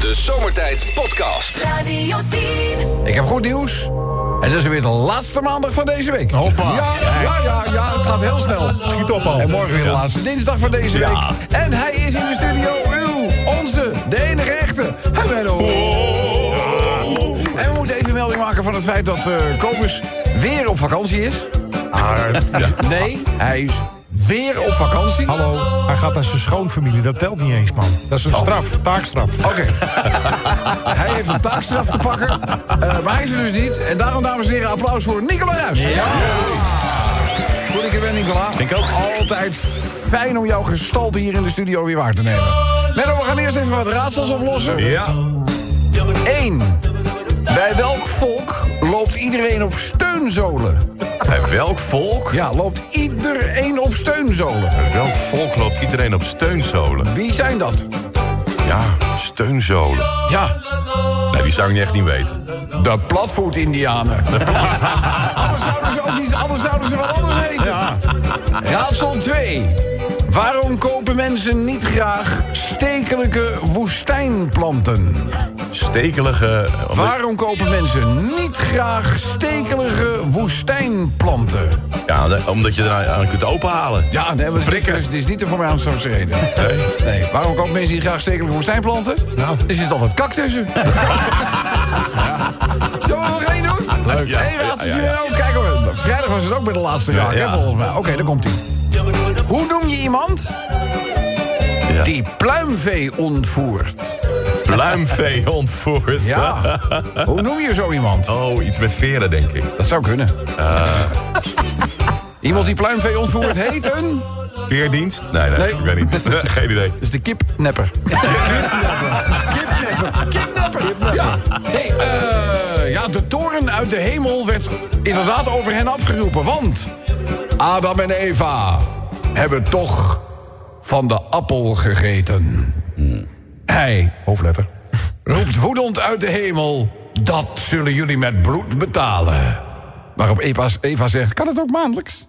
De Zomertijd Podcast. Radio 10. Ik heb goed nieuws. Het is weer de laatste maandag van deze week. Hoppa. Ja, ja, ja, ja, het gaat heel snel. Schiet op al. En morgen weer de laatste dinsdag van deze week. Ja. En hij is in de studio, uw, onze, de enige echte. Hij Menno. Oh. En we moeten even melding maken van het feit dat eh Kobus weer op vakantie is. Ah, Nee, hij is weer op vakantie. Oké. Hallo, hij gaat naar zijn schoonfamilie. Dat telt niet eens, man. Dat is een straf, taakstraf. hij heeft een taakstraf te pakken. Eh, maar hij is er dus niet. En daarom, dames en heren, applaus voor Nicola Ruijs. Goed, ik er ben, Nicola. Ik ook. Altijd fijn om jouw gestalte hier in de studio weer waar te nemen. Menno, we gaan eerst even wat raadsels oplossen. Ja. 1. Bij welk volk loopt iedereen op steunzolen? Bij welk volk? Ja, loopt iedereen op steunzolen. Bij welk volk loopt iedereen op steunzolen? Wie zijn dat? Ja, steunzolen. Ja, Nou, die zou ik niet echt niet weten. de platvoet-indianen. anders, zouden ze ook niet, anders zouden ze wel anders heten. Raadsel 2. Waarom kopen mensen niet graag stekelijke woestijnplanten? Stekelige... eh, Waarom kopen mensen niet graag stekelige woestijnplanten? Ja, de- omdat je eraan aan kunt openhalen. Ja, dat hebben we Prikken. Dus, dit is niet de voornaamste reden. Nee. Nee, waarom kopen mensen niet graag stekelige woestijnplanten? Nou. Er zit altijd kak tussen. Zullen we er nog één doen? Leuk. Ja, Eén ja, raadseltje ja, ja. weer ook. Kijk hoor, vrijdag was het ook bij de laatste raak, ja. hè, volgens mij. Oké, daar komt ie. Hoe noem je iemand Ja. die pluimvee ontvoert? Pluimvee ontvoerd. Ja. Hoe noem je zo iemand? Oh, iets met veren, denk ik. Dat zou kunnen. Eh. Iemand die pluimvee ontvoert heet een... Veerdienst? Nee, nee, Nee. ik weet niet. Geen idee. Dat is de kipnepper. Kipnepper. Kipnepper. Ja. Nee, eh, ja, de toren uit de hemel werd inderdaad over hen afgeroepen. Want Adam en Eva hebben toch van de appel gegeten. Hij, hoofdletter, roept woedend uit de hemel... dat zullen jullie met bloed betalen. Waarop Eva, Eva zegt, kan het ook maandelijks?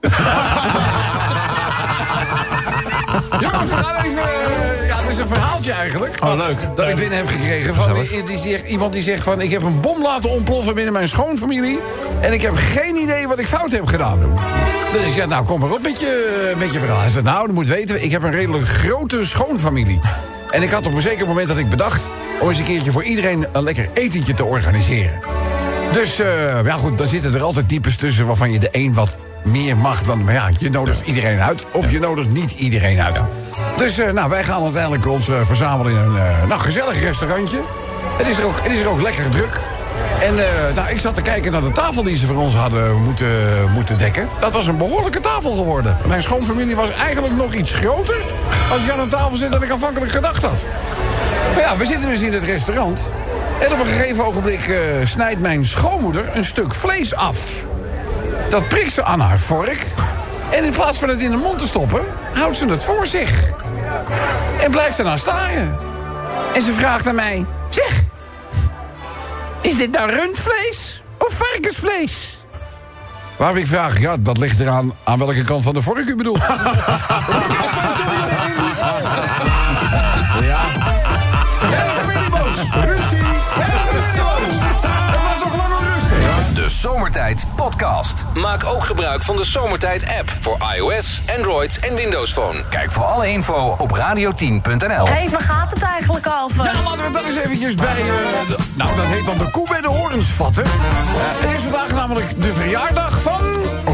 Jongens, we gaan even... eh, Ja, dat is een verhaaltje eigenlijk. Oh, leuk. Dat ik binnen heb gekregen van i- die zegt, iemand die zegt van... ik heb een bom laten ontploffen binnen mijn schoonfamilie... en ik heb geen idee wat ik fout heb gedaan. Dus ik zeg, nou, kom maar op met je, met je verhaal. Hij zegt, nou, dat moet weten, ik heb een redelijk grote schoonfamilie. En ik had op een zeker moment dat ik bedacht... om eens een keertje voor iedereen een lekker etentje te organiseren. Dus eh, ja, goed, dan zitten er altijd types tussen waarvan je de een wat meer mag dan. Maar ja, je nodigt iedereen uit of je nodigt niet iedereen uit. Dus eh, nou, wij gaan uiteindelijk ons eh, verzamelen in een eh, nou, gezellig restaurantje. Het is, er ook, het is er ook lekker druk. En eh, nou, ik zat te kijken naar de tafel die ze voor ons hadden moeten, moeten dekken. Dat was een behoorlijke tafel geworden. Mijn schoonfamilie was eigenlijk nog iets groter als je aan de tafel zit dan ik aanvankelijk gedacht had. Maar ja, we zitten dus in het restaurant. En op een gegeven ogenblik eh, snijdt mijn schoonmoeder een stuk vlees af. Dat prikt ze aan haar vork. En in plaats van het in de mond te stoppen, houdt ze het voor zich. En blijft ernaar staren. En ze vraagt aan mij: Zeg, is dit nou rundvlees of varkensvlees? Waarop ik vraag, ja, dat ligt eraan aan welke kant van de vork u bedoelt. Helemaal weer niet boos. Helemaal weer niet boos. Het was nog lang om rustig. De Zomertijd Podcast. Maak ook gebruik van de Zomertijd app voor iOS, Android en Windows Phone. Kijk voor alle info op radio10.nl. Hé, waar gaat het eigenlijk over? Ja, laten we dat eens eventjes bij... eh, de- nou, dat heet dan de koe bij de horens vatten. Eh, er is vandaag namelijk de verjaardag van...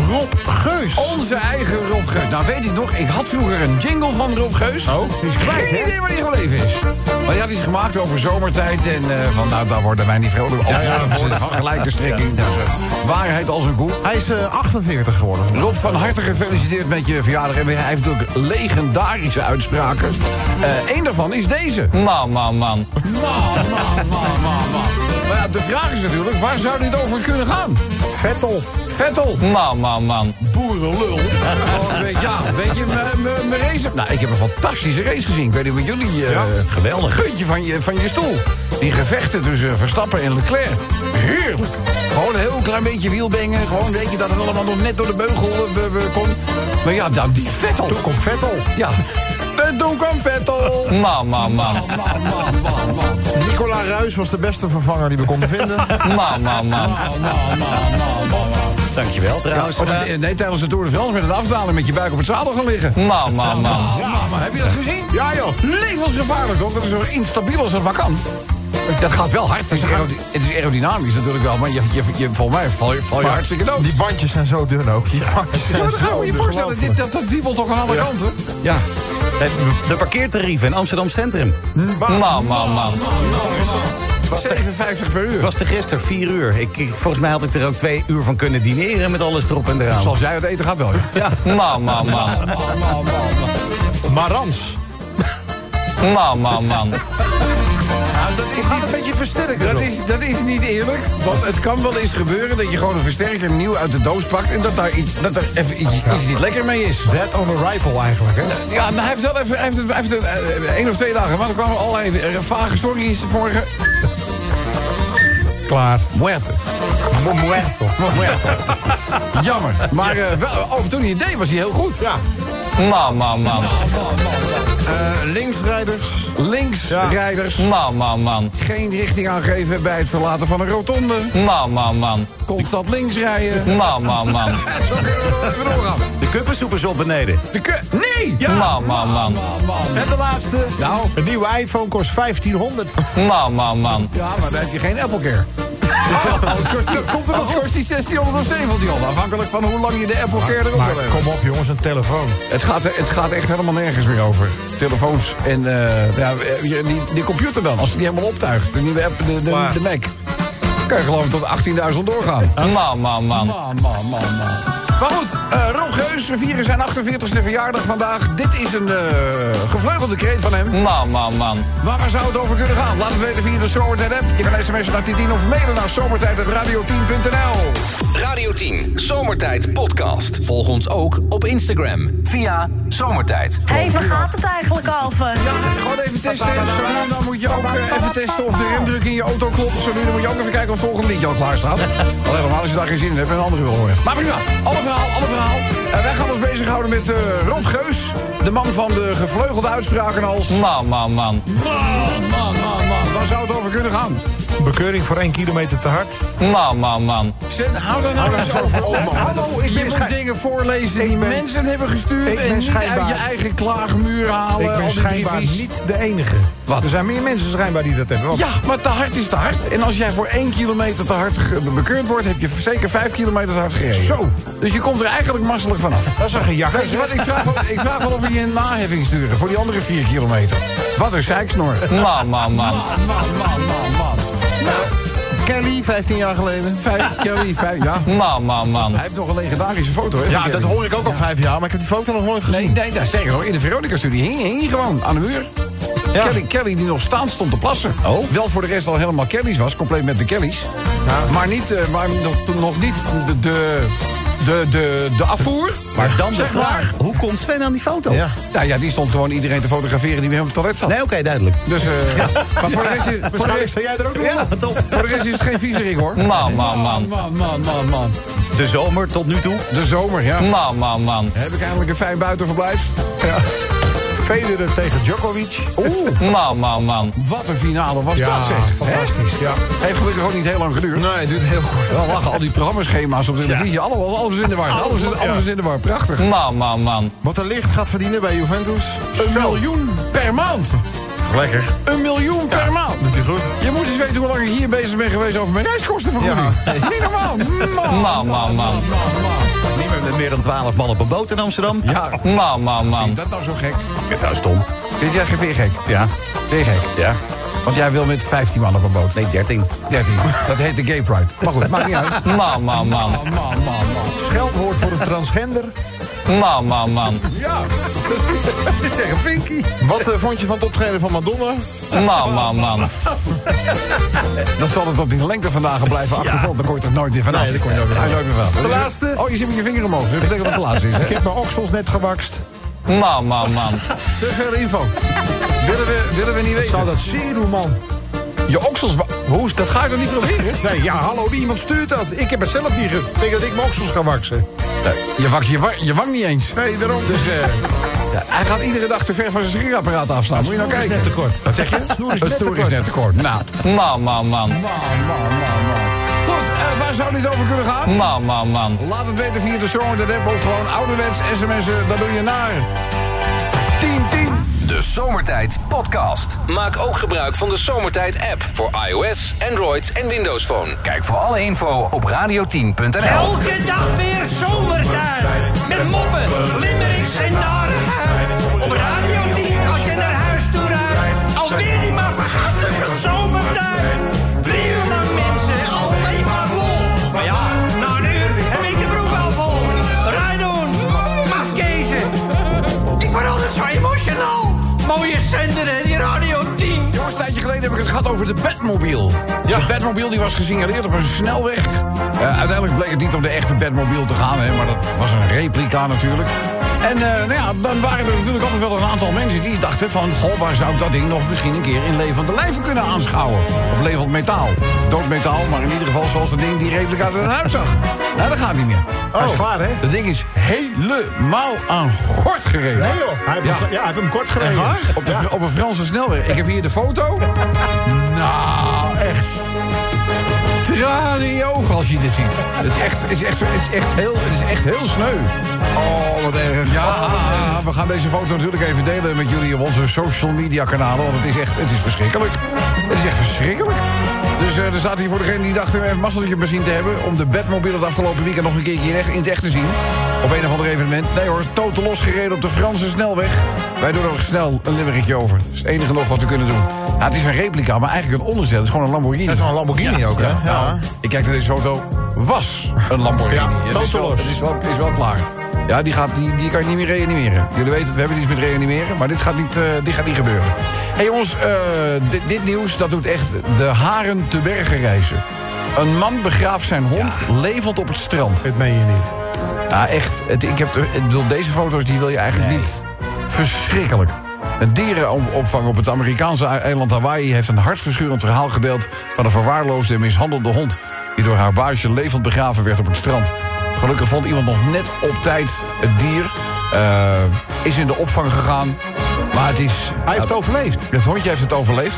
Rob Geus. Oh, Onze eigen Rob Geus. Nou, weet ik nog, ik had vroeger een jingle van Rob Geus. Oh, die is kwijt, Geen hè? idee waar die gebleven is. Maar ja, die is gemaakt over zomertijd. En eh, van, nou, daar worden wij niet vrolijk over. Ja, van gelijke strekking. Dus eh, waarheid als een koe. Hij is eh, 48 geworden. Rob, van harte gefeliciteerd met je verjaardag. En hij heeft natuurlijk legendarische uitspraken. Eén daarvan is deze. Man, man, man. Man, man, man, man, man. Maar Nou ja, de vraag is natuurlijk, waar zou dit over kunnen gaan? Vettel. Vettel. Man, man, man. Boerenlul. Oh, weet- ja, weet je, m- m- mijn race... Nou, ik heb een fantastische race gezien. Ik weet niet wat jullie... eh, geweldig. Puntje van je, van je stoel. Die gevechten tussen eh, Verstappen en Leclerc. Heerlijk. Gewoon een heel klein beetje wielbengen. Gewoon weet je dat het allemaal nog net door de beugel eh, we- we kon. Maar ja, dan die Vettel. Toen kwam Vettel. Nou. Ja. En toen kwam Vettel. Man, man, man. Man, man, man, man. Nicola Heus was de beste vervanger die we konden vinden. Man, man, man. Man, man, man, man, man. Dankjewel trouwens. Oh, dat- Eh, nee, tijdens de Tour de France met een afdaling met je buik op het zadel gaan liggen. Man, man, man. Ja, maar heb je dat gezien? Ja, joh. Levensgevaarlijk, hoor. Dat is zo instabiel als het maar kan. Dat gaat wel hard. Het is, aerody- het is aerodynamisch natuurlijk wel, maar je, je, je, volgens mij val je, val je maar hartstikke dood. Die bandjes zijn zo dun ook. Die bandjes Ja, zijn maar dat gaan zo dus we je dun, voorstellen. geloof Dit, me. dat, dat wiebelt toch aan alle kanten? Ja. De- De parkeertarieven in Amsterdam Centrum. Man, man, man. 57 per uur. Het was er gisteren, vier uur. Ik, ik- volgens mij had ik er ook twee uur van kunnen dineren met alles erop en eraan. Zoals jij het eten gaat wel. joh. Man, man, man. Man, man, man, man. Marans. Man, man, man. Nou, dat is niet, een beetje versterken. Dat is, dat is niet eerlijk. Want het kan wel eens gebeuren dat je gewoon een versterker nieuw uit de doos pakt. en dat daar iets, dat er even iets, iets niet lekker mee is. Dead on arrival eigenlijk, hè? Ja, maar hij heeft wel even, hij heeft, het- hij heeft het, eh, één of twee dagen. Maar er kwamen allerlei eh, vage stories vorige. Klaar. Muerte. Muerto. Muerte. Jammer. Maar eh, wel, oh, toen hij het deed was hij heel goed. Ja. Man, man, man. Eh, linksrijders. Linksrijders. Man, man, man. Geen richting aangeven bij het verlaten van een rotonde. Man, man, man. Constant links rijden. Man, man, man. Zo kunnen we nog even doorgaan. De kuppensoep is op beneden. De ke- Nee! Man, man, man. Man, man. En de laatste. Nou, Een nieuwe iPhone kost 1500. Man, man, man. ja, maar dan heb je geen AppleCare. Oh. dat komt er nog. kost die 1600 of 1700, afhankelijk van hoe lang je de AppleCare erop wil Maar hebben. kom op jongens, een telefoon. Het gaat, het gaat echt helemaal nergens meer over. Telefoons en eh, ja, eh, die, die computer dan, als die helemaal optuigt. De nieuwe app, de, de, Maar- de Mac. Kan je geloof ik tot 18.000 doorgaan. Man, man, man. Man, man, man, man. Maar goed, eh Rob Geus, we vieren zijn 48e verjaardag vandaag. Dit is een eh, gevleugelde kreet van hem. Man, man, man. Maar waar zou het over kunnen gaan? Laat het weten via de Zomertijd app. Je kan sms'en naar 10 of mailen naar zomertijd.radio10.nl. Radio 10, Zomertijd Podcast. Volg ons ook op Instagram via Zomertijd. Hé, hey, waar gaat het eigenlijk over? Ja, gewoon even testen. Zo nu en dan moet je ook eh, even testen of de remdruk in je auto klopt. Zo nu en dan moet je ook even kijken of het volgende liedje al klaar staat. Al helemaal als je daar geen zin in hebt en een andere wil horen. Maar prima, alle verhaal, alle verhaal. Eh, wij gaan ons bezighouden met eh Rob Geus. De man van de gevleugelde uitspraken als... Man, man, man. Man, man, man, man. Waar zou het over kunnen gaan? Bekeuring voor 1 kilometer te hard. Man, man, man. Zin, hou daar nou eens over op, man. Hallo, ik je moet dingen voorlezen die Ik ben- mensen hebben gestuurd... Ik ben en niet uit schijnbaar- je eigen klaagmuur halen. ik al ben die schijnbaar briefies. niet de enige. Wat? Er zijn meer mensen schijnbaar die dat hebben. Want Ja, maar te hard is te hard. En als jij voor één kilometer te hard ge- bekeurd wordt... heb je zeker vijf kilometer te hard gereden. Zo. Dus je komt er eigenlijk masselijk vanaf. Dat is een gejakker. Weet je wat, ik vraag, wel- ik vraag wel of we je een naheffing sturen... voor die andere vier kilometer. Wat een zeiksnor. Man, man, man. Man, man, man, man, man. Nou, Kelly, 15 jaar geleden. vijf, Kelly, vijf, ja. Man, man, man. Hij heeft nog een legendarische foto, hè? Ja, van Ah, dat Kelly. hoor ik ook al vijf jaar, maar ik heb die foto nog nooit Nee, gezien. nee, daar sterker nog, in de Veronica-studie hing, hing hij gewoon aan de muur. Kelly, Kelly die nog staan stond te plassen. Oh. Wel voor de rest al helemaal Kelly's was, compleet met de Kelly's. Maar, niet, eh, maar nog, toen nog niet de, de, de, de, de afvoer. Maar dan de Zeg maar. vraag, hoe komt Sven aan die foto? Ja. Nou ja, die stond gewoon iedereen te fotograferen die weer op het toilet zat. Nee, oké, duidelijk. Dus, eh, Maar voor de rest is, voor de Waarschijnlijk rest, sta jij er ook nog Ja, op. top. voor de rest is het geen viezerik hoor. Man, man, man. man, man, man, man. De zomer tot nu toe. De zomer, ja. Man, man, man. Heb ik eindelijk een fijn buitenverblijf. Federer tegen Djokovic. Oeh, Man, man, man. wat een finale was Ja, dat zeg. fantastisch, Hè? ja. Heeft gelukkig ook niet heel lang geduurd. Nee, het duurt heel kort. Wel lachen, al die programmaschema's op de televisie. Allemaal, alles is in de war. Alles, is- alles is in de war. Prachtig. Man, man, man. Wat er licht gaat verdienen bij Juventus. Een miljoen per maand. Lekker. Een miljoen per maand. Doet hij goed. Je moet eens weten hoe lang ik hier bezig ben geweest over mijn reiskostenvergoeding. Niet normaal. Man, Man, man, man. Niet meer met meer dan 12 man op een boot in Amsterdam. Ja, Man, man, man. dat nou zo gek. Dit zou stom. Dit jij weer gek. Ja, Weer gek. ja. Want jij wil met 15 man op een boot. Nee, 13. 13. Dat heet de Gay Pride. Maar goed, maakt niet uit. Man, man, Man, man. man, man, man. Scheldwoord voor een transgender. Man, man, man. Ja. Dit is echt een vinkie. Wat eh, vond je van het optreden van Madonna? Man, man, man. Dan zal het op die lengte vandaag blijven achtervolgd. Dan kon je toch nooit meer vanaf? Nee, daar kon je nooit meer vanaf. De laatste. Oh, je zit met je vinger omhoog. Dat betekent dat het de laatste is, hè? Ik heb mijn oksels net gewakst. Man, man, man. Te veel info. Willen we, willen we niet Zou weten. dat serum, man? Je oksels... wa- Hoe, is- dat ga je toch niet proberen? Nee, ja, hallo, iemand stuurt dat. Ik heb het zelf niet ge... Ik denk dat ik mijn oksels ga waksen. Je wakt je, wa- je wang niet eens. Nee, daarom. Dus eh, hij gaat iedere dag te ver van zijn sigarenapparaat afstaan. Moet je nou Snoer is kijken. net te kort. Wat zeg je? Snoer is Een net te stoer is kort. net te kort. Nou, Man, man, man. man, man, man, man. Goed, eh, waar zou dit over kunnen gaan? Man, man, man. Laat het weten via de Zomer de App of gewoon ouderwets sms'en. Dat doe je naar 1010. De Zomertijd Podcast. Maak ook gebruik van de Zomertijd app voor iOS, Android en Windows Phone. Kijk voor alle info op radio10.nl. Elke dag weer zomertijd. Met moppen, limericks en narigheid. Op Radio 10 als je naar huis toe rijdt. Alweer die maar vergastige zomertijd. Drie uur lang mensen, alleen maar lol. Maar ja, na een uur heb ik de broek al vol. Rijdoen, mafkezen. Ik word altijd zo emotional. Mooie zender hè, die Radio 10. Jongens, een tijdje geleden heb ik het gehad over de Batmobile. De Batmobile die was gesignaleerd op een snelweg. Eh, uiteindelijk bleek het niet om de echte Batmobile te gaan, hè, maar dat was een replica natuurlijk. En eh, nou ja, dan waren er natuurlijk altijd wel een aantal mensen die dachten van... goh, waar zou ik dat ding nog misschien een keer in levende lijven kunnen aanschouwen? Of levend metaal. Dood metaal, maar in ieder geval zoals dat ding die replica eruit zag. Nou, dat gaat niet meer. Hij is klaar, hè? Dat ding is helemaal aan gort gereden. Nee, joh. Hij heeft, Ja. Hem, ja, hij heeft hem kort gereden. Op, de, op een Franse snelweg. Ik heb hier de foto. Nou, echt. Tranen in je ogen als je dit ziet. Het is echt, het is echt, het is echt, heel, het is echt heel sneu. Oh, wat erg. Ja, Ah, we gaan deze foto natuurlijk even delen met jullie op onze social media kanalen. Want het is echt, het is verschrikkelijk. Het is echt verschrikkelijk. Dus eh, er staat hier voor degene die dachten een mazzeltje bezien te hebben... om de Batmobile het afgelopen weekend nog een keertje in, echt, in het echt te zien. Op een of ander evenement. Nee hoor, totaal losgereden op de Franse snelweg. Wij doen er nog snel een limmerikje over. Dat is het enige nog wat we kunnen doen. Nou, het is een replica, maar eigenlijk een onderstel. Het is gewoon een Lamborghini. Dat is wel een Lamborghini ook, hè? Ja. Nou, ik kijk naar deze foto. Was een Lamborghini. Ja, het is wel, totaal los. het is wel, het is wel klaar. Ja, die, gaat, die, die kan je niet meer reanimeren. Jullie weten, het, we hebben iets met reanimeren, maar dit gaat niet, eh, dit gaat niet gebeuren. Hé hey jongens, eh, dit, dit nieuws dat doet echt de haren te bergen reizen. Een man begraaft zijn hond levend op het strand. Dit meen je niet. Ja, echt. Het, ik heb, er- ik bedoel, deze foto's die wil je eigenlijk niet. Verschrikkelijk. Een dierenopvang op het Amerikaanse eiland Hawaii heeft een hartverscheurend verhaal gedeeld van een verwaarloosde en mishandelde hond. die door haar baasje levend begraven werd op het strand. Gelukkig vond iemand nog net op tijd het dier. eh, is in de opvang gegaan. Maar het is. Hij heeft overleefd. Het hondje heeft het overleefd.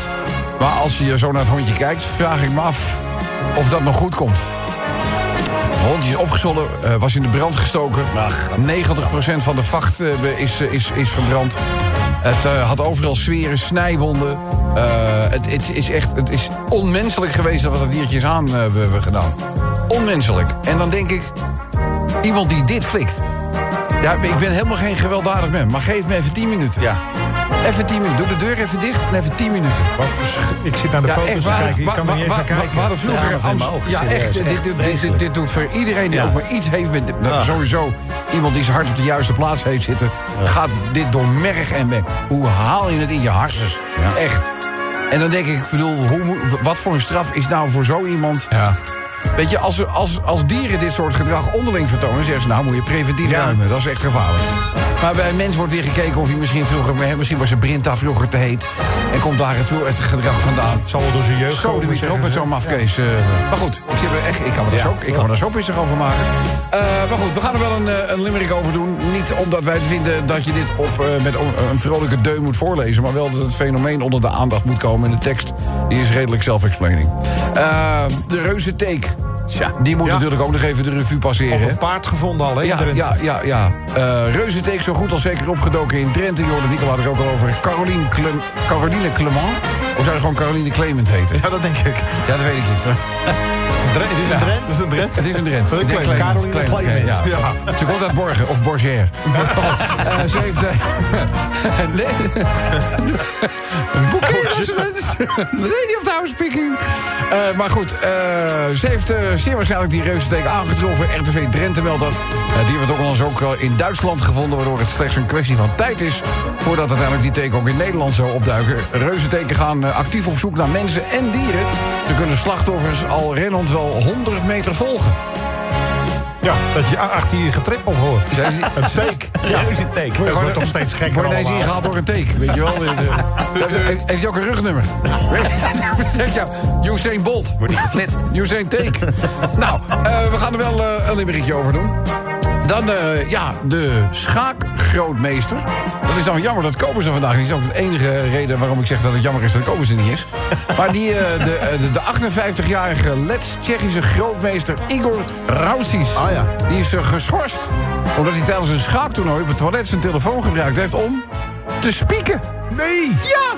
Maar als je zo naar het hondje kijkt, vraag ik me af of dat nog goed komt. Het hondje is opgezollen, eh, was in de brand gestoken. 90% van de vacht eh, be- is, eh, is, is verbrand. Het eh, had overal zweren, snijwonden. Eh, het, het, is echt, het is onmenselijk geweest wat dat diertje is aan eh, we hebben gedaan. Onmenselijk. En dan denk ik, iemand die dit flikt. Ja, ik ben helemaal geen gewelddadig mens, maar geef me even 10 minuten. Ja. Even 10 minuten. Doe de deur even dicht en even 10 minuten. Wat versch- Ik zit naar de foto's te kijken. Ik kan er niet even naar kijken. Waar de vroeger Tranen van in mijn Amst- ogen, Ja, serieus. echt. Dit, Echt dit- dit- dit, vreselijk. dit doet voor iedereen die Ja. ook maar iets heeft met... dat Sowieso iemand die zijn hart op de juiste plaats heeft zitten... gaat dit door merg en bek. Hoe haal je het in je hersens? Echt. En dan denk ik, ik bedoel, hoe, moet- wat voor een straf is nou voor zo iemand... Ja. Weet je, als, ze- als, als dieren dit soort gedrag onderling vertonen... zeggen ze, nou moet je preventief ruimen. Dat is echt gevaarlijk. Maar bij een mens wordt weer gekeken of hij misschien vroeger... hè, misschien was een Brinta vroeger te heet. En komt daar het, het gedrag vandaan. Het zal wel door zijn jeugd Zo, komen, die is er zeggen ook ze. met zo'n mafkees. eh, maar goed, ik, zit er echt, ik kan me daar zo, ik kan me daar zo pissig over maken. Eh, maar goed, we gaan er wel een, eh, een limerick over doen. Niet omdat wij het vinden dat je dit op, eh, met o- een vrolijke deu moet voorlezen... maar wel dat het fenomeen onder de aandacht moet komen. En de tekst die is redelijk self-explaining. Eh, de reuze take. Die moet Ja. natuurlijk ook nog even de revue passeren. Op hè? een paard gevonden al, hè? Ja, in Drenthe. ja, ja, ja. Eh Reuzenteek zo goed als zeker opgedoken in Drenthe. Jorden Wiekel had er ook al over. Caroline, Clem, Caroline Clement? Of zou je gewoon Caroline Clement heten? Ja, dat denk ik. Ja, dat weet ik niet. Dre- dit is een Drent. Dit is een Drent. Het is een Drent. Een Clement. Caroline Clement, oké, ja. Ze komt uit Borgen, of Borgère. Eh, ze heeft... eh, nee. Een boekje was het. Lady of the House speaking. Eh, maar goed, eh, ze heeft eh, zeer waarschijnlijk die reuzensteek aangetroffen. RTV Drenthe meldt dat. Eh, die wordt ook al eens ook wel in Duitsland gevonden... waardoor het slechts een kwestie van tijd is... voordat uiteindelijk die teken ook in Nederland zou opduiken. Reuzenteken gaan eh, actief op zoek naar mensen en dieren. Ze kunnen slachtoffers al rennend wel 100 meter volgen. Ja, dat je a- achter je getrippel hoort. Een steek. Ja. Reuze take. Dat wordt toch steeds gekker Voor ineens allemaal. ingehaald door een take, weet je wel. De- de- Heeft- heeft- Heeft je ook een rugnummer? Zegt jou, Usain Bolt. Wordt niet geflitst. Usain Take. nou, eh, we gaan er wel eh, een limmerikje over doen. Dan, eh, ja, de schaakgeuzen grootmeester. Dat is dan jammer, dat kopen ze vandaag. niet. Dat is ook de enige reden waarom ik zeg dat het jammer is dat kopen ze niet is. Maar die, eh, de, eh, de, de 58-jarige Lets-Tsjechische grootmeester Igor Rausis. Ah, ja. Die is eh, geschorst omdat hij tijdens een schaaktoernooi op het toilet zijn telefoon gebruikt heeft om te spieken. Nee! Ja!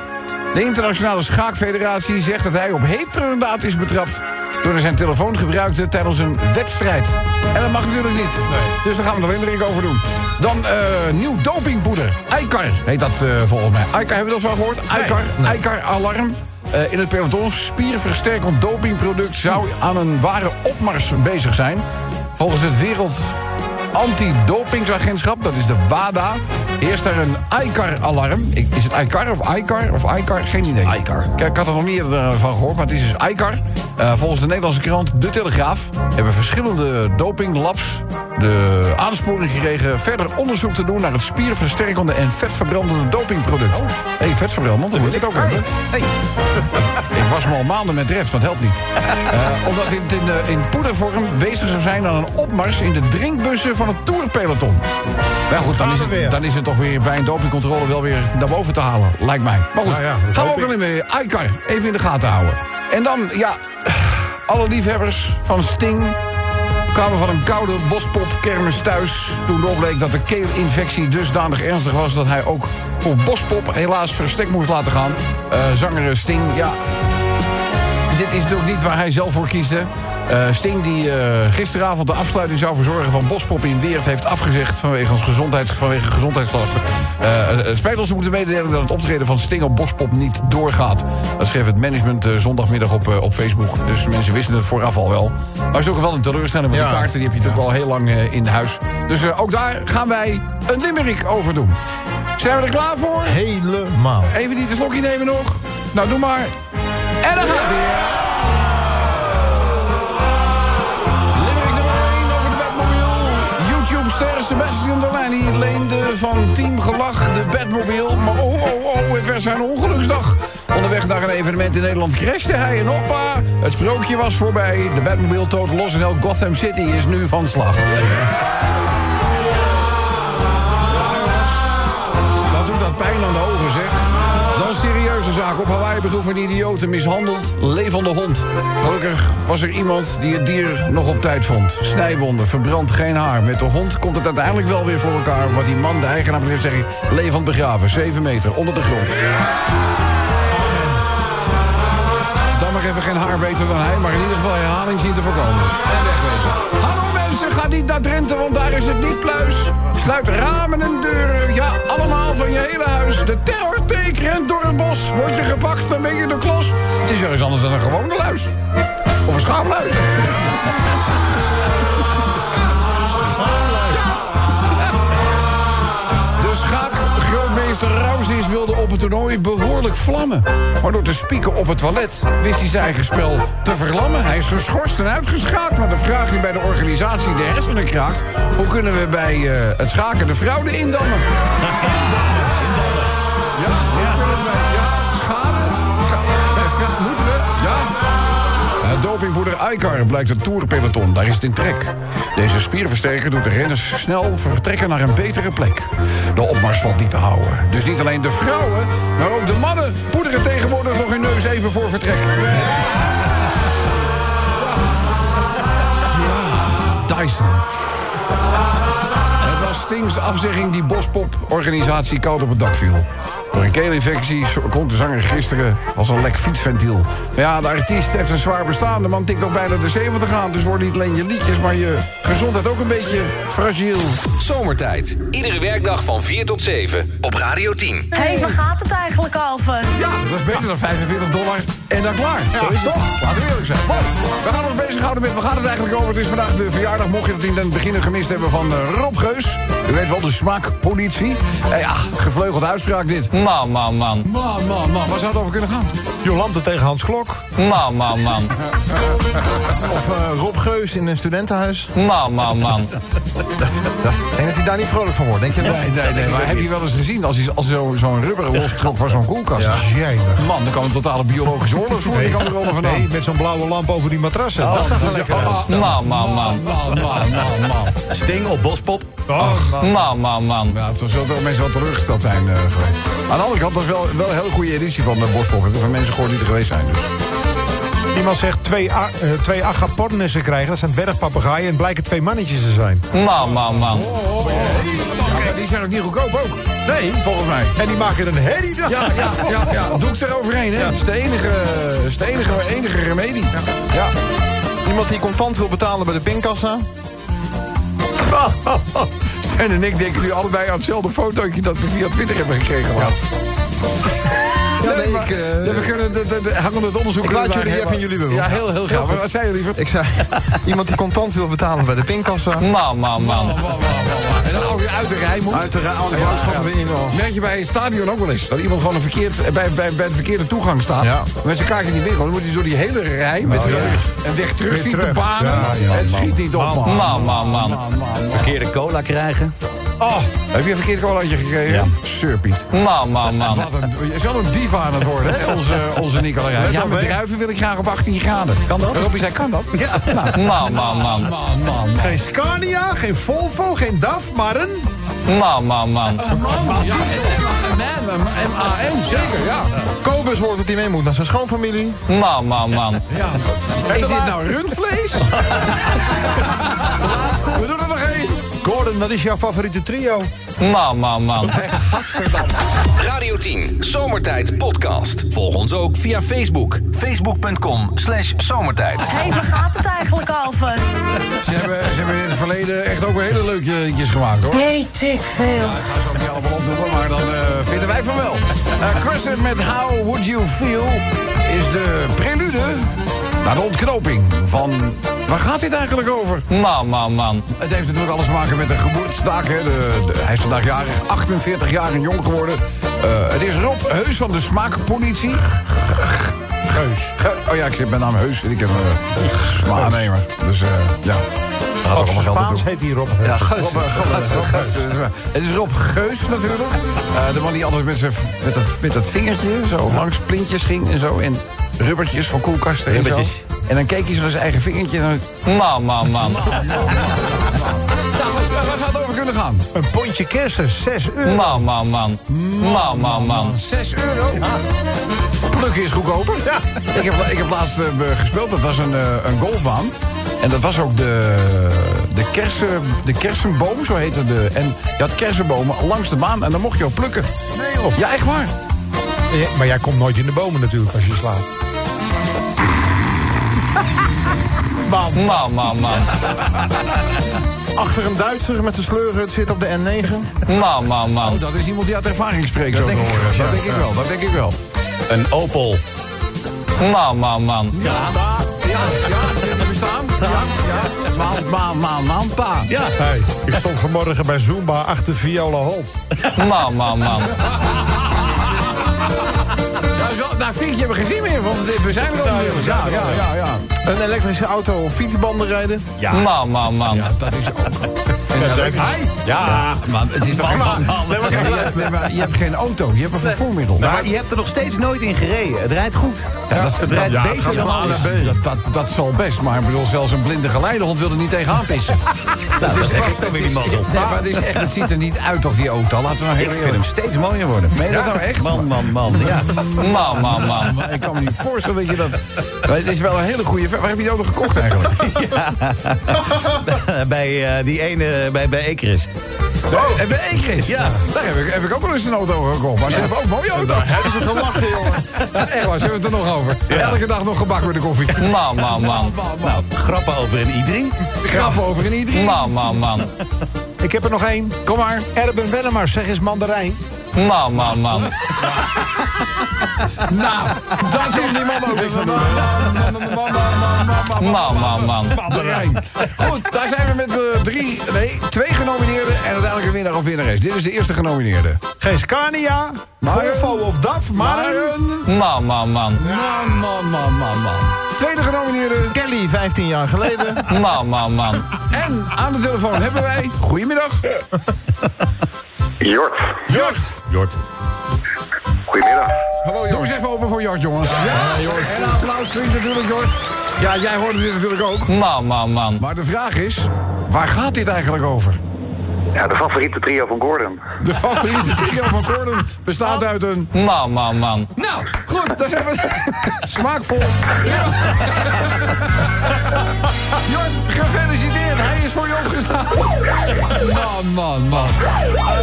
De Internationale Schaakfederatie zegt dat hij op heterdaad is betrapt... door zijn telefoon gebruikte tijdens een wedstrijd. En dat mag natuurlijk niet. Dus daar gaan we er een drink over doen. Dan eh, nieuw dopingpoeder. ICAR heet dat eh, volgens mij. ICAR, hebben we dat wel gehoord? ICAR, ICAR Alarm. Eh, in het peloton spierversterkend dopingproduct... zou aan een ware opmars bezig zijn. Volgens het Wereld anti-dopingsagentschap, dat is de WADA, heerst er een ICAR-alarm. Ik- Is het ICAR of ICAR of ICAR? Geen idee. ICAR. Kijk, ik had er nog niet eerder eh, van gehoord, maar het is dus ICAR. Eh, volgens de Nederlandse krant De Telegraaf hebben verschillende dopinglabs de aansporing gekregen verder onderzoek te doen naar het spierversterkende en vetverbrandende dopingproduct. Hé, hey, vetverbrandend, dat moet ik ook hebben. Ik was me al maanden met ref, dat helpt niet. Eh, omdat het in, eh, in poedervorm bezig zou zijn aan een opmars in de drinkbussen van het tourpeloton. Maar goed, dan is, we weer. het, dan is het toch weer bij een dopingcontrole wel weer naar boven te halen, lijkt mij. Maar goed, Nou ja, dat gaan we hoop ook alleen mee. Icar, even in de gaten houden. En dan, ja, alle liefhebbers van Sting kwamen van een koude bospopkermis thuis. Toen doorbleek dat de keelinfectie dusdanig ernstig was... dat hij ook voor bospop helaas verstek moest laten gaan. Eh zanger Sting, ja... Dit is natuurlijk niet waar hij zelf voor kiest, hè. Eh, Sting, die eh, gisteravond de afsluiting zou verzorgen van Bospop in Weert... heeft afgezegd vanwege, ons gezondheids, vanwege gezondheidslasten. Eh, het- het spijt ons te moeten mededelen dat het optreden van Sting op Bospop niet doorgaat. Dat schreef het management eh, zondagmiddag op, eh, op Facebook. Dus mensen wisten het vooraf al wel. Maar het is ook wel een teleurstelling, want die kaarten die heb je natuurlijk al heel lang eh, in huis. Dus eh, ook daar gaan wij een limerick over doen. Zijn we er klaar voor? Helemaal. Even niet de slokje nemen nog. Nou, doe maar. En dan gaat hij. Limerick nummer 1 over de Batmobile. YouTube-ster Sebastian Delaney leende van Team Gelach de Batmobile. Maar oh, oh, oh, het werd zijn ongeluksdag. Onderweg naar een evenement in Nederland crashte hij en oppa. Het sprookje was voorbij. De Batmobile toot los en heel Gotham City is nu van slag. Wat doet dat pijn aan de ogen, zeg? Dan serieuze zaak. Op Hawaii begroef een idioot een mishandeld levende hond. Gelukkig was er iemand die het dier nog op tijd vond. Snijwonden, verbrand geen haar. Met de hond komt het uiteindelijk wel weer voor elkaar. Wat die man, de eigenaar, moet zeggen... levend begraven, 7 meter, onder de grond. Dan mag even geen haar beter dan hij, maar in ieder geval herhaling zien te voorkomen. En wegwezen. Hallo mensen, ga niet naar Drenthe, want daar is het niet pluis. Sluit ramen en deuren, ja, allemaal van je hele huis. De terrorteek rent door het bos. Word je gepakt, dan ben je de klos. Het is wel eens anders dan een gewone luis. Of een schaapluis. De schaakgrootmeester Rausis wilde op het toernooi behoorlijk vlammen. Maar door te spieken op het toilet wist hij zijn eigen spel te verlammen. Hij is geschorst en uitgeschaakt. Maar de vraag die bij de organisatie de hersenen kraakt... hoe kunnen we bij eh, het schaken de fraude indammen? Ja, hoe kunnen we... Ja, schade? Scha- bij fra- moeten we? Ja, het dopingpoeder Icar blijkt het toerpeloton. Daar is het in trek. Deze spierversterker doet de renners snel vertrekken naar een betere plek. De opmars valt niet te houden. Dus niet alleen de vrouwen, maar ook de mannen poederen tegenwoordig nog hun neus even voor vertrek. Ja, Dyson. Het was Stings afzegging die Bospop-organisatie koud op het dak viel. Door een keelinfectie so- kon de zanger gisteren als een lek fietsventiel. Maar ja, de artiest heeft een zwaar bestaan. De man tikt al bijna de 70 aan. Dus wordt niet alleen je liedjes, maar je gezondheid ook een beetje fragiel. Zomertijd. Iedere werkdag van 4 tot 7 op Radio 10. Hé, hey, waar gaat het eigenlijk over? Ja, dat is beter dan 45 dollar en dan klaar. Zo is het. Toch? Laten we eerlijk zijn. Mooi. We gaan ons bezighouden met, waar gaat het eigenlijk over? Het is vandaag de verjaardag, mocht je dat in het begin gemist hebben van eh, Rob Geus. U weet wel, de smaakpolitie. Eh, ja, gevleugelde uitspraak dit. Man, man, man. Man, man, man, waar zou het over kunnen gaan? Jolante tegen Hans Klok. Man, man, man. Of eh, Rob Geus in een studentenhuis. Man, man, man. Ik denk dat hij daar niet vrolijk van wordt. Denk je wel? Nee, nee, nee. Maar heb je wel eens gezien als, hij- als zo- zo'n rubber lostrok van zo'n koelkast? Jijnig. Man, daar kan een totale biologische oorlog voor. Die kan er allemaal vandaan. Nee, met zo'n blauwe lamp over die matrassen. dat zag er lekker uit. Man, man, man. Man, man, man, man. Sting op Bospop. Man, man, man. Ja, er zullen toch mensen wel teleurgesteld zijn eh, geweest. Aan de andere kant, dat is wel, wel een hele goede editie van uh, Bospop. Ik heb van mensen gehoord die er geweest zijn. Dus. Iemand zegt twee, a- eh, twee agapornissen krijgen. Dat zijn dwergpapegaaien en blijken twee mannetjes te zijn. Man, man, man. Ja, maar die zijn ook niet goedkoop ook. Nee. Volgens mij. En die maken er een herrie dan. Ja, ja, ja, ja. Doe ik eroverheen, hè? Dat is de enige, dat is de enige, enige remedie. Ja. Iemand die contant wil betalen bij de pinkassa. Sven en ik denken nu allebei aan hetzelfde fotootje dat we via Twitter hebben gekregen laatst. Ja, Nee, nee, maar- ik, eh, ja, we kunnen de, de, de, hangende het onderzoek... Ik laat kunnen jullie we daar even helemaal- in jullie bubbel. Ja, heel, heel graag. Wat zei jullie? ik zei, iemand die contant wil betalen bij de pinkassa. Man, man, man. En dan ook weer uit de rij moet. Uit de rij, oh, de boodschap weer in, hoor. Merk je bij het stadion ook wel eens. Dat iemand gewoon een verkeerd, eh, bij, bij, bij de verkeerde toegang staat. Ja. Met zijn kaartje niet binnen. Dan moet hij door die hele rij met ja. terug en weg terug Weer zien te terug. banen. Ja, ja, het man. schiet niet op, man. Man, man, man. Verkeerde cola krijgen. Oh, heb je een verkeerd colaatje gekregen? Ja. Surpiet. Man, man, man. Wat een, je is wel een diva aan het worden, hè, onze, onze Nicolai. Ja, op, met hè? druiven wil ik graag op 18 graden. Kan dat? Robbie zei, kan dat? Ja. Man, man, man. Man, man, man. Geen Scania, geen Volvo, geen DAF, maar een... Man, man, man. Man, ja. M-A-N, zeker, ja. Kobus hoort dat hij mee moet naar zijn schoonfamilie. Man, man, man. Ja. Is dit nou rundvlees? We doen er nog één. Gordon, wat is jouw favoriete trio? Man, man, man. Radio 10, Zomertijd Podcast. Volg ons ook via Facebook. Facebook.com slash zomertijd. Hé, waar gaat het eigenlijk over? Ze hebben, ze hebben in het verleden echt ook weer hele leuke liedjes gemaakt, hoor. Weet ik veel. Ik ga ze ook niet allemaal opnoemen, maar dan eh, vinden wij van wel. Eh Crescent met How Would You Feel is de prelude naar de ontknoping van... Waar gaat dit eigenlijk over? Man, man, man. Het heeft natuurlijk alles te maken met de geboortestaak. Hè. De, de- hij is vandaag jarig, 48 jaar en jong geworden. Eh, het is Rob Heus van de Smaakpolitie. Geus. Ge- oh ja, ik zit mijn naam Heus en ik heb een aannemer. Dus eh, ja, daar gaat ook Als allemaal geld naartoe. Spaans heet hij Rob. Ja, Geus. Rob, eh, Rob, eh, Rob Geus. Het is Rob Geus natuurlijk. Eh, de man die altijd met, zijn- met, dat, met dat vingertje zo langs plintjes ging en zo. En rubbertjes van koelkasten en zo. Rubbertjes. En dan keek hij zo naar zijn eigen vingertje. En dan... Man, man, man. Nou goed, eh, waar zou het over kunnen gaan? Een pondje kersen, 6 euro. Man, man, man. Man, man, man. 6 euro. Plukken is goedkoper. Ik, heb, ik heb laatst eh, gespeeld, dat was een, eh, een golfbaan. En dat was ook de, de, kersen, de kersenboom, zo heette de. En je had kersenbomen langs de baan en dan mocht je ook plukken. Nee, joh. Ja, echt waar. Ja, Maar jij komt nooit in de bomen natuurlijk als je slaat. Man, man, man. Achter een Duitser met zijn sleuren zit op de N9. Man, man, man. Oh, dat is iemand die uit ervaring spreekt. zo denk te ik horen. ook, dat ja. denk ik wel, dat denk ik wel. Een Opel. Man, man, man. Ja, ja, ja, ja bestaan. Ja, ja. Maan, maan, maan, maan, pa. Ja. Hey, ik stond vanmorgen bij Zumba achter Viola Holt. Man, man, man. Nou, zo- Nou, vind je hebben we geen zin meer, want we zijn er al. inmiddels. Ja, ja, ja, ja. Een elektrische auto op fietsbanden rijden. Man, man, man. Ja, dat is ook. En dan heb je- Ja, man. Het is toch geen Ja, maar je hebt- nee, maar je hebt geen auto, je hebt een vervoermiddel. Nou, maar je hebt er nog steeds nooit in gereden. Het rijdt goed. het rijdt ja, het beter gaat dan van A alles. naar B. Dat, dat, dat zal best, maar ik bedoel, zelfs een blinde geleidehond wil er niet tegenaan pissen. Nou, dat is dan weer die mazzel. Nee, maar het, is echt, het ziet er niet uit of die auto. Laten we nou heel Ik vind hem steeds mooier worden. Meen je dat nou echt? Man, man, man. Ja. Man, man, man. Maar ik kan me niet voorstellen dat je dat... Maar het is wel een hele goede... ver- Waar heb je die auto gekocht eigenlijk? bij eh, die ene, bij, bij Ekeris. Oh, en bij Ekris. Ja. Daar heb ik, heb ik ook wel eens een auto gekocht. Maar ze hebben ook mooie auto's. Hebben ze gelachen, jongen. Ja, echt waar, ze hebben het er nog over. Elke dag nog gebak met de koffie. Man, man, man. Man, man. Nou, grappen over een i3. Grappen over in iedereen. Man, man, man. Ik heb er nog één. Kom maar. Erben Wellemar, zeg eens mandarijn. Man, man, man. Nou, dat is die man ook niks aan doen. Man, man, man. De Rijn. Goed, daar zijn we met eh, drie, nee, twee genomineerden en uiteindelijk een winnaar of winnares. Dit is de eerste genomineerde. Geen Scania, Maren. Volvo of DAF, maar Man, man, man. Man, man, man, man, man. Tweede genomineerde. Kelly, 15 jaar geleden. Man, man, man. En aan de telefoon hebben wij. Goedemiddag. Jort, Jort. Jort. goedemiddag. Hallo Doe eens even open voor Jort, jongens. Ja, Jort. En een applaus klinkt natuurlijk, Jort. Ja, jij hoorde dit natuurlijk ook. Man, man, man. Maar de vraag is, waar gaat dit eigenlijk over? Ja, de favoriete trio van Gordon. De favoriete trio van Gordon bestaat uit een... Man, man, man. Nou, goed, daar zijn we. Smaakvol. Ja. Jort, gefeliciteerd. Hij is voor je opgestaan. Man, man, man. Eh,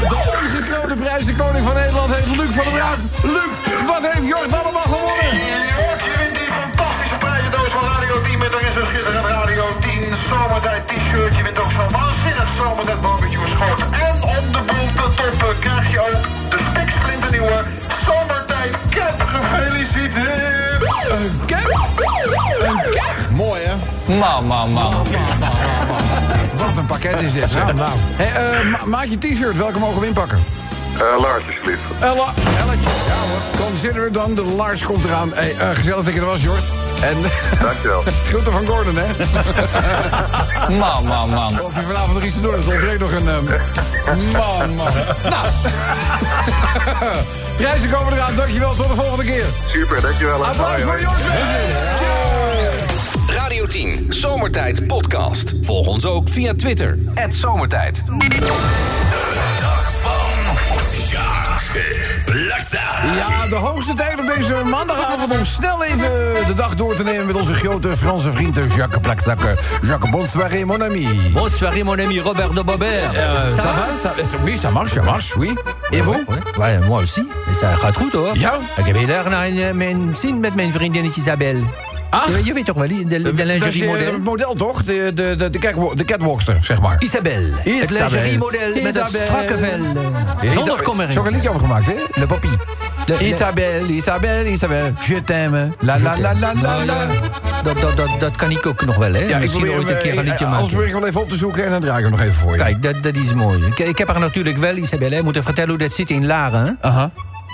de ongekroonde prijs, de koning van Nederland, heet Luc van der Braak. Luc, wat heeft Jort allemaal gewonnen? Jort, je wint die fantastische prijzendoos van Radio 10 met daarin zo'n schitterend Radio 10 zomertijd t-shirt. Je wint ook zo'n waanzinnig zomertijd barbecue schort. En om de boel te toppen krijg je ook de spiksplinternieuwe zomertijd cap. Gefeliciteerd! Een cap? Een cap? Mooi, hè? Man, man, man. Wat een pakket is dit, zeg. Nou, maak je t-shirt, welke mogen we inpakken? Eh Lars, alsjeblieft. Ella, Elletje. Ja hoor. Consider it dan, de Lars komt eraan. Hey, eh, gezellig dat je er was, Jort. En Dankjewel. groeten van Gordon, hè. Man, man, man. Of je vanavond nog iets te doen hebt, er ontbreekt nog een... ehm, Man, man. Nou. Prijzen komen eraan, dankjewel. Tot de volgende keer. Super, dankjewel. hè. Applaus Hoi, hoi. voor Jort Benzen. Radio 10, Zomertijd Podcast. Volg ons ook via Twitter, Zomertijd. Ja, de hoogste tijd om deze maandagavond om snel even de dag door te nemen... met onze grote Franse vriend eh, Jacques Plakzakker. Jacques, bonsoir, mon ami. Bonsoir, mon ami Robert de Bobert. Euh, ça, va, ça, Oui, ça marche, ça marche, oui. Et vous Eh, Ouais, moi aussi. Et ça gaat goed hoor. Ja. Ik heb heel erg naar een, eh, mijn zin met mijn vriendin Isabel. Ah. Ach. Je, je weet toch wel, de, de, de Dat is, eh, lingerie-model. het model toch? De, de, de, de, catwalk- de catwalkster, zeg maar. Isabel. Het Isabel. lingerie-model met dat Isabel. strakke vel. Zonder Zo heb ik kommering. een liedje over gemaakt, hè? Le Papi. Isabel, Isabel, Isabel, je t'aime. La la la la la la. Dat, dat, dat, dat kan ik ook nog wel, hè? Misschien probeer ooit hem, een keer eh, een liedje eh, Anders maken. probeer ik hem wel even op te zoeken en dan draai ik hem nog even voor je. Kijk, dat, dat is mooi. Ik, ik heb haar natuurlijk wel, Isabel, hè, moeten vertellen hoe dat zit in Laren. hè. Aha.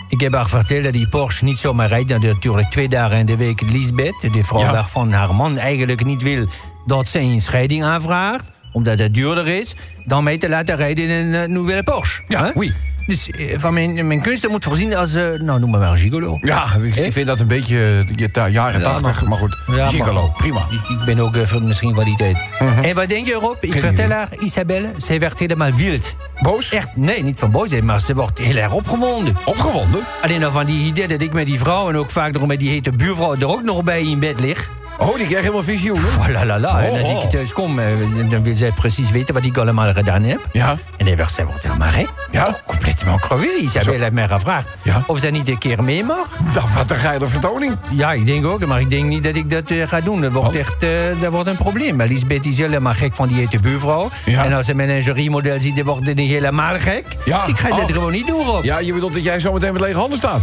Ik heb haar verteld dat die Porsche niet zomaar rijdt. Dat natuurlijk twee dagen in de week Lisbeth, de vrouw Ja. waarvan haar man eigenlijk niet wil dat zij een scheiding aanvraagt, omdat het duurder is, dan mee te laten rijden in een eh, nieuwe Porsche. Ja, hè? oui. Dus eh, van mijn, mijn kunsten moet voorzien als, eh, nou noem maar wel gigolo. Ja, ik- ik vind dat een beetje eh, je ta- jaren tachtig, maar goed. Ja, Gigolo, maar- prima. Ik, ik ben ook eh, van misschien van die tijd. En wat denk je erop? Ik Mhm. Geen vertel idee. haar, Isabelle, zij werd helemaal wild. Boos? Echt, nee, niet van boosheid, maar ze wordt heel erg opgewonden. Opgewonden? Alleen al van die idee dat ik met die vrouw en ook vaak nog met die hete buurvrouw er ook nog bij in bed lig. Oh, die krijgt helemaal visioenen. Oh la la la, en als Oh, oh. ik thuis kom, eh, dan wil zij precies weten wat ik allemaal gedaan heb. Ja. En dan werd zij wordt helemaal gek. Ja. Oh, complètement crevé. Isabel heeft mij gevraagd Ja. of zij niet een keer mee mag. Nou, wat een geile vertoning. Ja, ik denk ook, maar ik denk niet dat ik dat eh, ga doen. Dat wordt Want? echt eh, dat wordt een probleem. Maar Lisbeth is helemaal gek van die hete buurvrouw. Ja. En als ze mijn ingenieursmodel ziet, dan wordt die helemaal gek. Ja. Ik ga Oh. dit gewoon niet doen, Rob. Ja, Ja, je bedoelt dat jij zometeen met lege handen staat.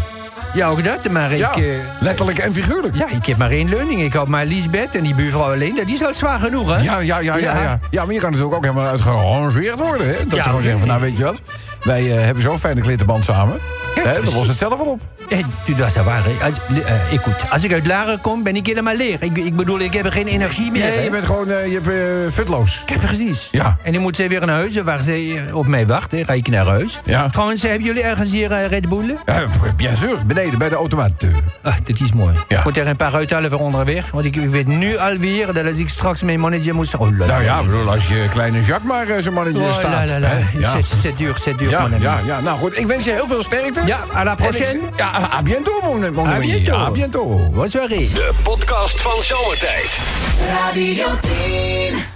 ook dat, maar Ja, ik... eh, letterlijk en figuurlijk. ja, ik heb maar één leuning. Ik had maar Lisbeth en die buurvrouw alleen. Dat is al zwaar genoeg, hè? Ja, ja, ja, ja, Ja. ja. Ja, maar je kan natuurlijk ook helemaal uitgerangeerd worden. Hè? Dat ze Ja, gewoon zeggen van, nou weet je wat, wij eh, hebben zo'n fijne klittenband samen. Hè, dan lost het zelf wel op. Hey, tu dois savoir, hè. Als, eh, eh, écoute, als ik uit Laren kom, ben ik helemaal leeg. Ik, ik bedoel, ik heb er geen energie meer. Nee, hè. je bent gewoon, eh, je bent eh, futloos. Kijk, precies. Ja. En dan moet zij weer naar huis, waar ze eh, op mij wacht. Hè. Ga ik naar huis. Ja. Trouwens, hebben jullie ergens hier eh, Red Bull? Ja, pff, bien sûr, beneden bij de automaat. eh. Ah, dit is mooi. Ja. Ik moet er een paar uithalen voor onderweg. Want ik, ik weet nu alweer dat als ik straks mijn manager moest... Oh, la, la, Nou ja, ik bedoel, als je kleine Jacques maar eh, zo'n mannetje Oh, la, staat. la, la. hè? Ja. C'est- C'est dur, c'est dur, Ja, mon ami. ja, ja, nou goed, ik wens je heel veel sterkte. Ja, à la En ik- prochaine. Ja, à bientôt, mon mon À ami. bientôt. À bientôt. Bonne soirée. De podcast van Zomertijd. Radio 10.